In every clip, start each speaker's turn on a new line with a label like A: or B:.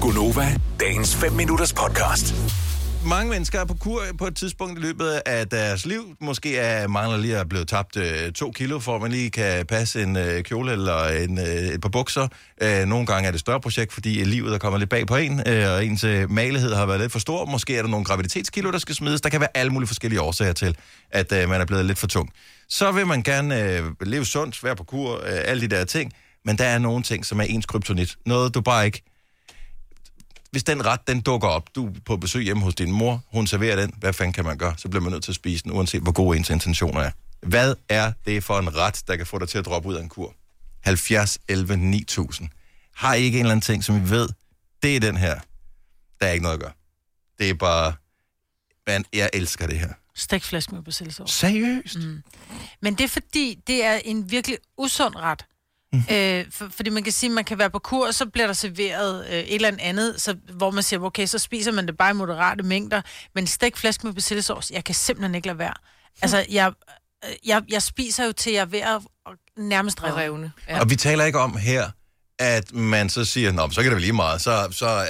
A: Gunova, dagens 5 minutters podcast.
B: mange mennesker er på kur på et tidspunkt i løbet af deres liv. Måske er mangler lige at blive tabt øh, to kilo, for at man lige kan passe en øh, kjole eller en, øh, et par bukser. Øh, nogle gange er det et større projekt, fordi livet er kommet lidt bag på en, øh, og ens øh, malighed har været lidt for stor. Måske er der nogle graviditetskilo, der skal smides. Der kan være alle mulige forskellige årsager til, at øh, man er blevet lidt for tung. Så vil man gerne øh, leve sundt, være på kur, øh, alle de der ting. Men der er nogle ting, som er ens kryptonit. Noget, du bare ikke hvis den ret, den dukker op, du er på besøg hjemme hos din mor, hun serverer den, hvad fanden kan man gøre? Så bliver man nødt til at spise den, uanset hvor gode ens intentioner er. Hvad er det for en ret, der kan få dig til at droppe ud af en kur? 70, 11, 9000. Har I ikke en eller anden ting, som I ved, det er den her. Der er ikke noget at gøre. Det er bare... Man, jeg elsker det her.
C: Stegt flæsk med persillesovs.
B: Seriøst? Mm.
C: Men det er fordi, det er en virkelig usund ret. Øh, for, fordi man kan sige, at man kan være på kur, og så bliver der serveret øh, et eller andet andet, så, hvor man siger, okay, så spiser man det bare i moderate mængder, men stegt flæsk med persillesovs, jeg kan simpelthen ikke lade være. Altså, jeg, øh, jeg, jeg spiser jo til jeg er ved at at nærmest
D: og
C: revne.
D: revne. Ja.
B: Og vi taler ikke om her, at man så siger, nå, men så kan det vel lige meget. Så, så, øh,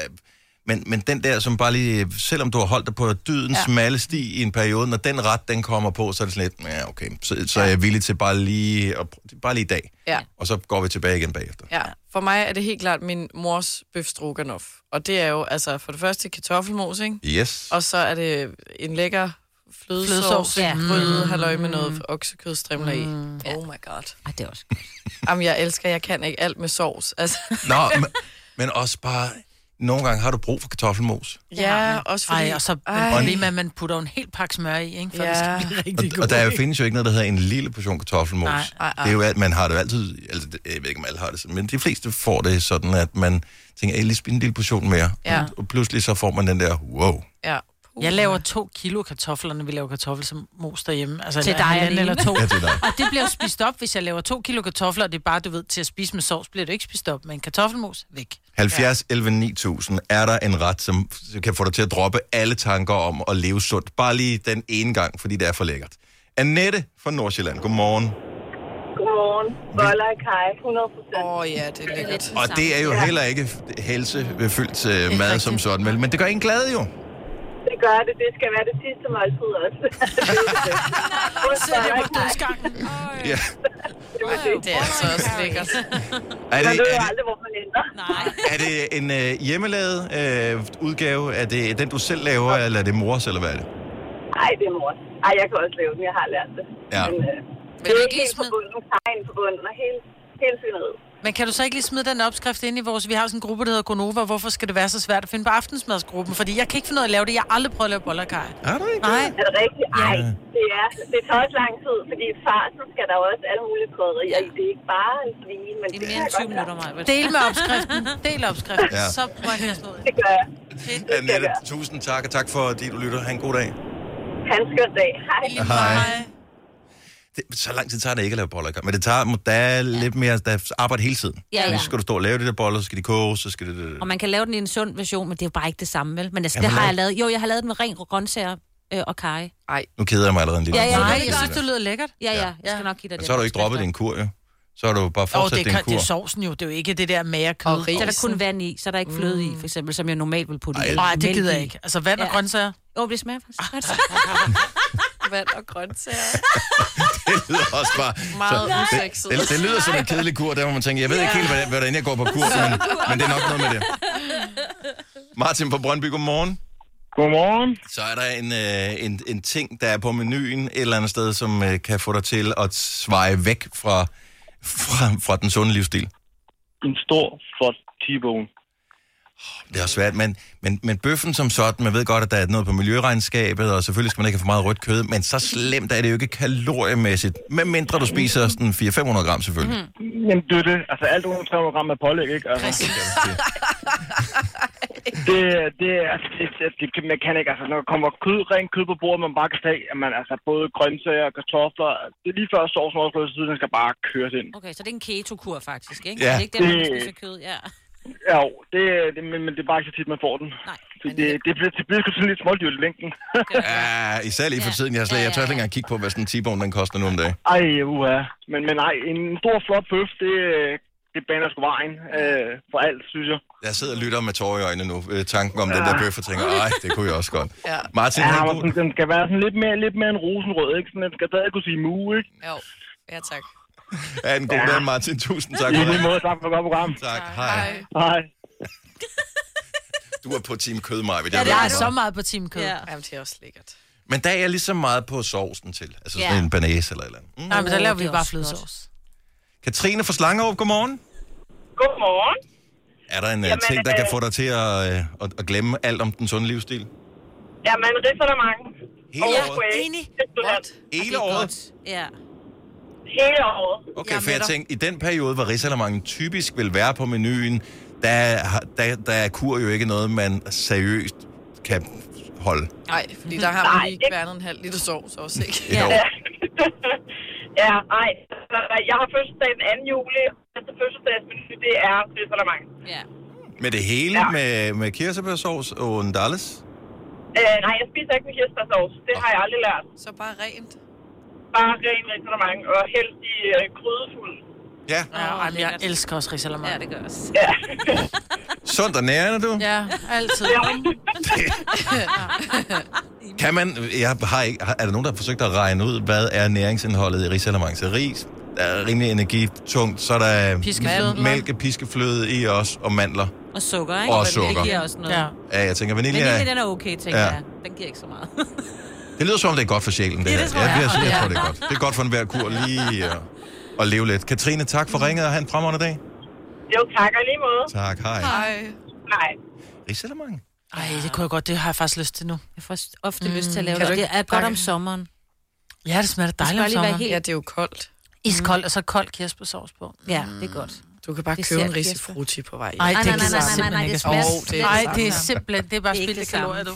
B: men, men den der, som bare lige, selvom du har holdt dig på dydens ja. smalle sti i en periode, når den ret, den kommer på, så er det sådan lidt, ja, okay, så, så er jeg villig til bare lige, at, pr- bare lige i dag.
D: Ja.
B: Og så går vi tilbage igen bagefter.
D: ja. For mig er det helt klart min mors bøf stroganoff. Og det er jo altså for det første kartoffelmos, ikke?
B: Yes.
D: Og så er det en lækker
C: Flødesovs,
D: flødesovs,
E: ja.
D: ja. gryde, halløj med noget oksekødstrimler i. Oh my god.
E: Ej, det er også
D: Jamen, jeg elsker, jeg kan ikke alt med sovs. Altså,
B: Nå, men, men også bare, nogle gange har du brug for kartoffelmos.
D: ja, også fordi...
C: Ej, og så
D: Ej.
C: problemet er, at man putter jo en hel pakke smør i, ikke, for ja. det
D: Ja.
C: skal blive rigtig
B: Og
C: godt.
B: der findes jo ikke noget, der hedder en lille portion kartoffelmos.
C: Nej,
D: nej, nej.
B: Det er jo alt, man har det jo altid, altså det- jeg ved ikke, om alle har det sådan, men de fleste får det sådan, at man tænker, jeg lige spiser en lille portion mere.
D: Ja. Uh.
B: Og pludselig så får man den der, wow.
D: Ja. Puh.
C: Jeg laver to kilo kartofler, når vi laver kartoffelsmos derhjemme. Altså,
E: Til
C: en
E: dig
C: halvanden
E: alene.
C: eller to.
B: Ja, det er dig.
C: Og det bliver jo spist op, hvis jeg laver to kilo kartofler, og det er bare, du ved, til at spise med sovs, bliver det ikke spist op. Men kartoffelmos, væk.
B: 70, 11, 9000. Er der en ret, som kan få dig til at droppe alle tanker om at leve sundt? Bare lige den ene gang, fordi det er for lækkert. Annette fra Nordsjælland, godmorgen.
F: Godmorgen. Boller i kaj, 100 procent.
D: Åh oh, ja, det er lækkert.
B: Og det er jo heller ikke helsefyldt øh, mad som sådan, vel? men det gør en glad jo.
F: Det gør det. Det skal være det sidste måltid også.
C: Så er det på dødsgangen.
B: Ja.
D: Det er altså også lækkert.
B: Er,
F: Man
B: det,
F: ved jo
B: er, det,
F: aldrig, hvor man ender.
E: Nej.
B: er det en øh, hjemmelavet øh, udgave? Er det den, du selv laver, eller er det mors, eller hvad er det?
F: Ej, det er mor. Ej, jeg kan også lave den. Jeg har lært det.
B: Ja.
F: Men, øh,
C: Men
F: det er
C: ikke
F: ikke helt
C: smid-
F: forbundet. Kajen forbundet og hele, hele fyneriet.
C: Men kan du så ikke lige smide den opskrift ind i vores... Vi har jo sådan en gruppe, der hedder Gonova. Hvorfor skal det være så svært at finde på aftensmadsgruppen? Fordi jeg kan ikke finde ud af at lave det. Jeg har aldrig prøvet at lave boller og kaj.
B: Er det ikke?
C: Nej.
F: Er det rigtigt? Ej, det, er, det tager også lang tid, fordi i farsen skal der jo også alle mulige krydderier i. Det er ikke bare en svine, men
E: Det
F: det, det
E: er mere
F: kan jeg godt
E: end 20
F: lide.
E: minutter, mig.
C: Del med opskriften. Del opskriften.
B: Ja.
C: Ja. Så brønder jeg små.
F: Det gør jeg.
B: Annette, tusind tak, og tak for, at du lytter. Ha' en god dag.
F: Han skøn dag. Hej.
B: Hej. Det, så lang tid tager det ikke at lave boller, men det tager, der er lidt mere, der er arbejde hele tiden.
E: Ja, ja.
B: Så skal du stå og lave de der boller, så skal de koge, så skal det... det, det.
E: Og man kan lave den i en sund version, men det er jo bare ikke det samme, vel? Men altså,
B: Jamen,
E: det har
B: lad-
E: jeg lavet. Jo, jeg har lavet den med ren grøntsager øh, og kaj.
B: Nu keder jeg mig allerede en lille
E: Ja, ja,
B: smule.
C: Nej,
E: det
C: jeg
E: er
C: synes, det lyder lækkert.
E: Ja, ja, jeg
C: Ja.
E: skal nok give dig
B: Men
E: det.
B: så har du ikke droppet din kur, jo. Så har du bare
C: Åh, oh,
B: fortsat
C: det,
B: din
C: kan-
B: kur.
C: det er sovsen jo. Det er jo ikke det der med kød.
D: Og ris.
E: Så er der kun vand i, så er der ikke fløde i, for eksempel, som jeg normalt vil putte i.
B: Ej.
E: Eller
C: Nej, det
E: mælk
C: gider
E: i.
C: jeg ikke. Altså vand og
E: Ja.
C: grøntsager.
E: Jo, det smager faktisk godt.
D: Vand og grøntsager.
B: det lyder også bare...
D: Meget
B: så,
D: usexet.
B: det, det, det, lyder som en kedelig kur, der hvor man tænker, jeg ved ikke helt, hvad, hvad der er, inden jeg går på kur, men, men det er nok noget med det. Martin fra Brøndby, godmorgen.
G: Godmorgen.
B: Så er der en, øh, en, en ting, der er på menuen et eller andet sted, som øh, kan få dig til at sveje væk fra, fra, fra den sunde livsstil.
G: En stor, flot T-bone.
B: Det er også svært, men, men, men bøffen som sådan, man ved godt, at der er noget på miljøregnskabet, og selvfølgelig skal man ikke have for meget rødt kød, men så slemt er det jo ikke kaloriemæssigt, medmindre du spiser sådan 400-500 gram selvfølgelig. Mm.
G: Jamen, det er det. Altså, alt under 300 gram er pålæg, ikke? Altså, det, det, er- altså, det, det, det, kan- man kan ikke. Altså, når der kommer kød, rent kød på bordet, man bare kan tage, at man altså både grøntsager og kartofler, det er lige før sovsen også går siden, den skal bare køres ind.
E: Okay, så det er en keto-kur faktisk, ikke?
B: Ja.
E: Det er ikke den, hvor man
G: Det-
E: spiser kød, ja.
G: Ja, jo, det, det, men, men det er bare ikke så tit, man får den.
E: Nej.
G: Det, det, det, bliver, det bliver sgu sådan lidt smådyrt i længden.
B: Ja, især lige for
E: Ja.
B: tiden. Jeg, slet,
E: Ja,
B: jeg tør
E: ja,
B: ikke
E: ja.
B: engang kigge på, hvad sådan en T-bone den koster nu om dagen.
G: Ej, uha. Men, men nej, en stor, flot bøf, det øh, det baner sgu vejen øh, for alt, synes jeg.
B: Jeg sidder og lytter med tårer i øjnene nu. Øh, tanken om den der bøf, og tænker, nej, det kunne jeg også godt.
D: Ja.
B: Martin,
G: Ja,
B: ja,
G: men
B: Martin.
G: sådan, den skal være sådan lidt mere, lidt mere en rosenrød, ikke? Sådan, den skal stadig kunne sige mu, ikke?
D: Jo. Ja, tak.
B: Er en god dag, Martin. Tusind tak.
G: I
B: For
G: lige
B: det.
G: måde, tak for et godt program.
B: Tak. Hej.
G: Hej.
B: Du er på Team Kød, Maja.
C: Ja, det er så meget på timekød. Ja.
E: Ja.
D: Jamen, det er også lækkert.
B: Men der er jeg lige så meget på sovsen til. Altså sådan
E: Ja.
B: en banæs eller et eller andet. Mm.
C: Nej, men så
E: Åh,
C: laver
E: det
C: vi
E: er
C: bare
E: også godt.
C: flødesovs.
B: Katrine fra Slangerup, godmorgen.
F: Godmorgen.
B: Er der en Jamen,
F: Jamen,
B: ting, der
F: øh,
B: kan få dig til at, øh, at, at glemme alt om den sunde livsstil?
F: Jamen, ridser der mange.
B: Hele
F: Ja.
B: året?
F: Enig. What?
E: Det
B: Hele
E: er
B: året?
E: godt. Ja.
F: Hele året.
B: Okay,
D: Jeg er
B: for jeg
D: med dig.
B: tænkte, i den periode, hvor risalamangen typisk vil være på menuen, der, har- der, der er kur jo ikke noget, man seriøst kan holde.
D: Nej, fordi der har man
F: Nej,
D: lige
F: ikke-
D: kværnet en halv liter sovs også, ikke?
B: Ja.
F: Ja. ja, ej. altså, Jeg har fødselsdag den 2. juli. Altså fødselsdagsmenu, det er ridser der mange.
E: ja.
B: Med det hele, ja.
F: Ja.
B: med, med kirsebærsovs og en dalles.
F: Øh, nej, jeg spiser ikke med kirsebærsovs. Det har jeg aldrig lært.
D: Så bare rent.
F: Bare ren ridser der mange, og helst i øh, krydefuld.
B: Ja,
C: Ja,
E: Åh,
C: ej, men jeg
E: lækkert.
C: elsker også risalamande.
E: Ja, det gør også.
F: Ja.
B: sundt og nærende, du.
C: Ja, altid.
B: Kan man, jeg har ikke, har- er der nogen, der har forsøgt at regne ud, hvad er næringsindholdet i risalamang? Så ris, der er rimelig energitungt, så er der
C: Piskefløde.
B: m- mælke, piskefløde i også, og mandler.
E: Og sukker, ikke?
B: Og
E: Men
B: sukker.
E: Det giver også noget.
C: Ja.
E: Ja.
B: Ja, jeg tænker, vanilje,
E: Men
B: er-
E: ja. den er okay, tænker
B: Ja.
E: ja. jeg. Den giver ikke så meget.
B: det lyder som om, det er godt for sjælen, det,
E: Ja,
B: her.
E: det tror
B: jeg,
E: jeg.
B: jeg, jeg tror, det er godt. Det er godt for enhver kur lige at, at leve lidt. Katrine, tak for ringet, og have en fremragende dag.
F: Jo, tak og lige måde.
B: Tak, hej.
D: Ej.
F: Nej.
B: Risalamang?
C: Ej, det kunne jeg godt. Det har jeg faktisk lyst til nu.
E: Jeg får ofte mm, lyst til at lave
D: Kan
E: det.
D: du
E: og Det
D: ikke
E: er godt
D: bare-
E: om sommeren.
C: Ja, det smager
E: skal
C: dejligt om
E: bare lige være
C: sommeren.
E: helt-
D: Ja, det er jo koldt.
C: Iskold, og så kold kirsebærsovs på.
E: Ja, det er godt.
D: Du kan bare
E: Det
D: købe
E: ser
D: en
E: Kirsten.
D: risifruti på vej.
C: Ej,
E: nej,
C: det
E: nej,
C: kan
E: nej, nej,
C: simpelthen
E: nej,
C: ikke
E: det
C: være
E: smager
C: smagt.
D: Åh, det er
C: Nej,
D: det
C: det er
D: samme.
C: simpelthen, det er bare
E: Det er ikke
C: spildte
E: det samme.
C: kalorier, du.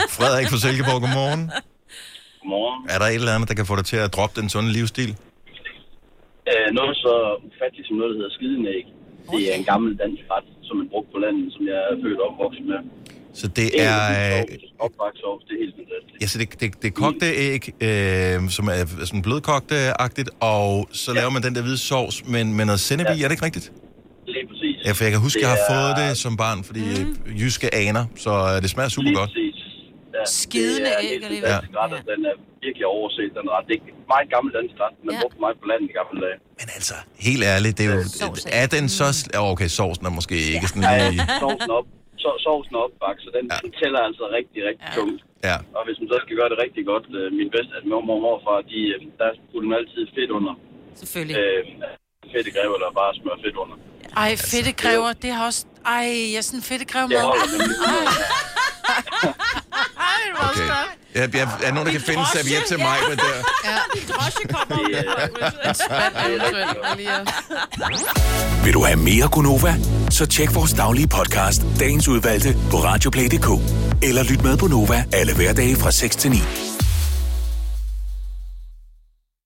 E: Ja.
B: Frederik fra Silkeborg, godmorgen.
H: Godmorgen.
B: Er der et eller andet, der kan få dig til at droppe den sunde livsstil?
H: Øh, noget så ufattigt som noget, der hedder skidenæg. Det er en gammel dansk ret, som man brugte på landet, som jeg er født og opvokset med.
B: Så det
H: Det er
B: er...
H: ja,
B: øh,
H: opvaksovs, det er helt fantastisk.
B: Ja, så det, det, det er kogte æg, øh, som er sådan blødkogte-agtigt, og så ja. laver man den der hvide sovs men, med noget sennep ja. i, er det ikke rigtigt?
H: Lige præcis.
B: Ja, for jeg kan huske,
H: Det
B: jeg har
H: er-
B: fået det som barn, fordi mm. jyske aner, så øh, det smager super
H: Lige
B: godt.
H: præcis. Ja,
E: Skidende
H: det er en
E: æg
H: helt
E: alligevel.
H: fantastisk ret, og Den er virkelig overset, den ret. Det er en meget gammel dansk ret, man
E: Ja.
H: brugte meget på landet i gamle dage.
B: Men altså, helt ærligt, det er, jo,
E: Sovs er-
B: er den så... sl- Åh, Okay, sovsen er måske ikke sådan lige...
H: Sovsen op, så, sovsen op, så den, ja. den tæller altså rigtig, rigtig ja. tungt.
B: Ja.
H: Og hvis man så skal gøre det rigtig godt, øh, min bedste, at mormor og morfar, de, øh, der putter man altid fedt under.
E: Selvfølgelig.
H: Øh, fedt i greb, eller bare smør fedt under.
C: Ej, fedtegræver, det har også... Ej, jeg er sådan en fedtegræver
H: Det
C: mad.
H: holder nemlig ud over.
B: Okay. Jeg, jeg, er nogen, der kan finde en serviet til mig med der?
H: Det, øh,
A: Vil du have mere Gunova? Så tjek vores daglige podcast, dagens udvalgte, på radioplay.dk. Eller lyt med på Nova alle hverdage fra 6 til 9.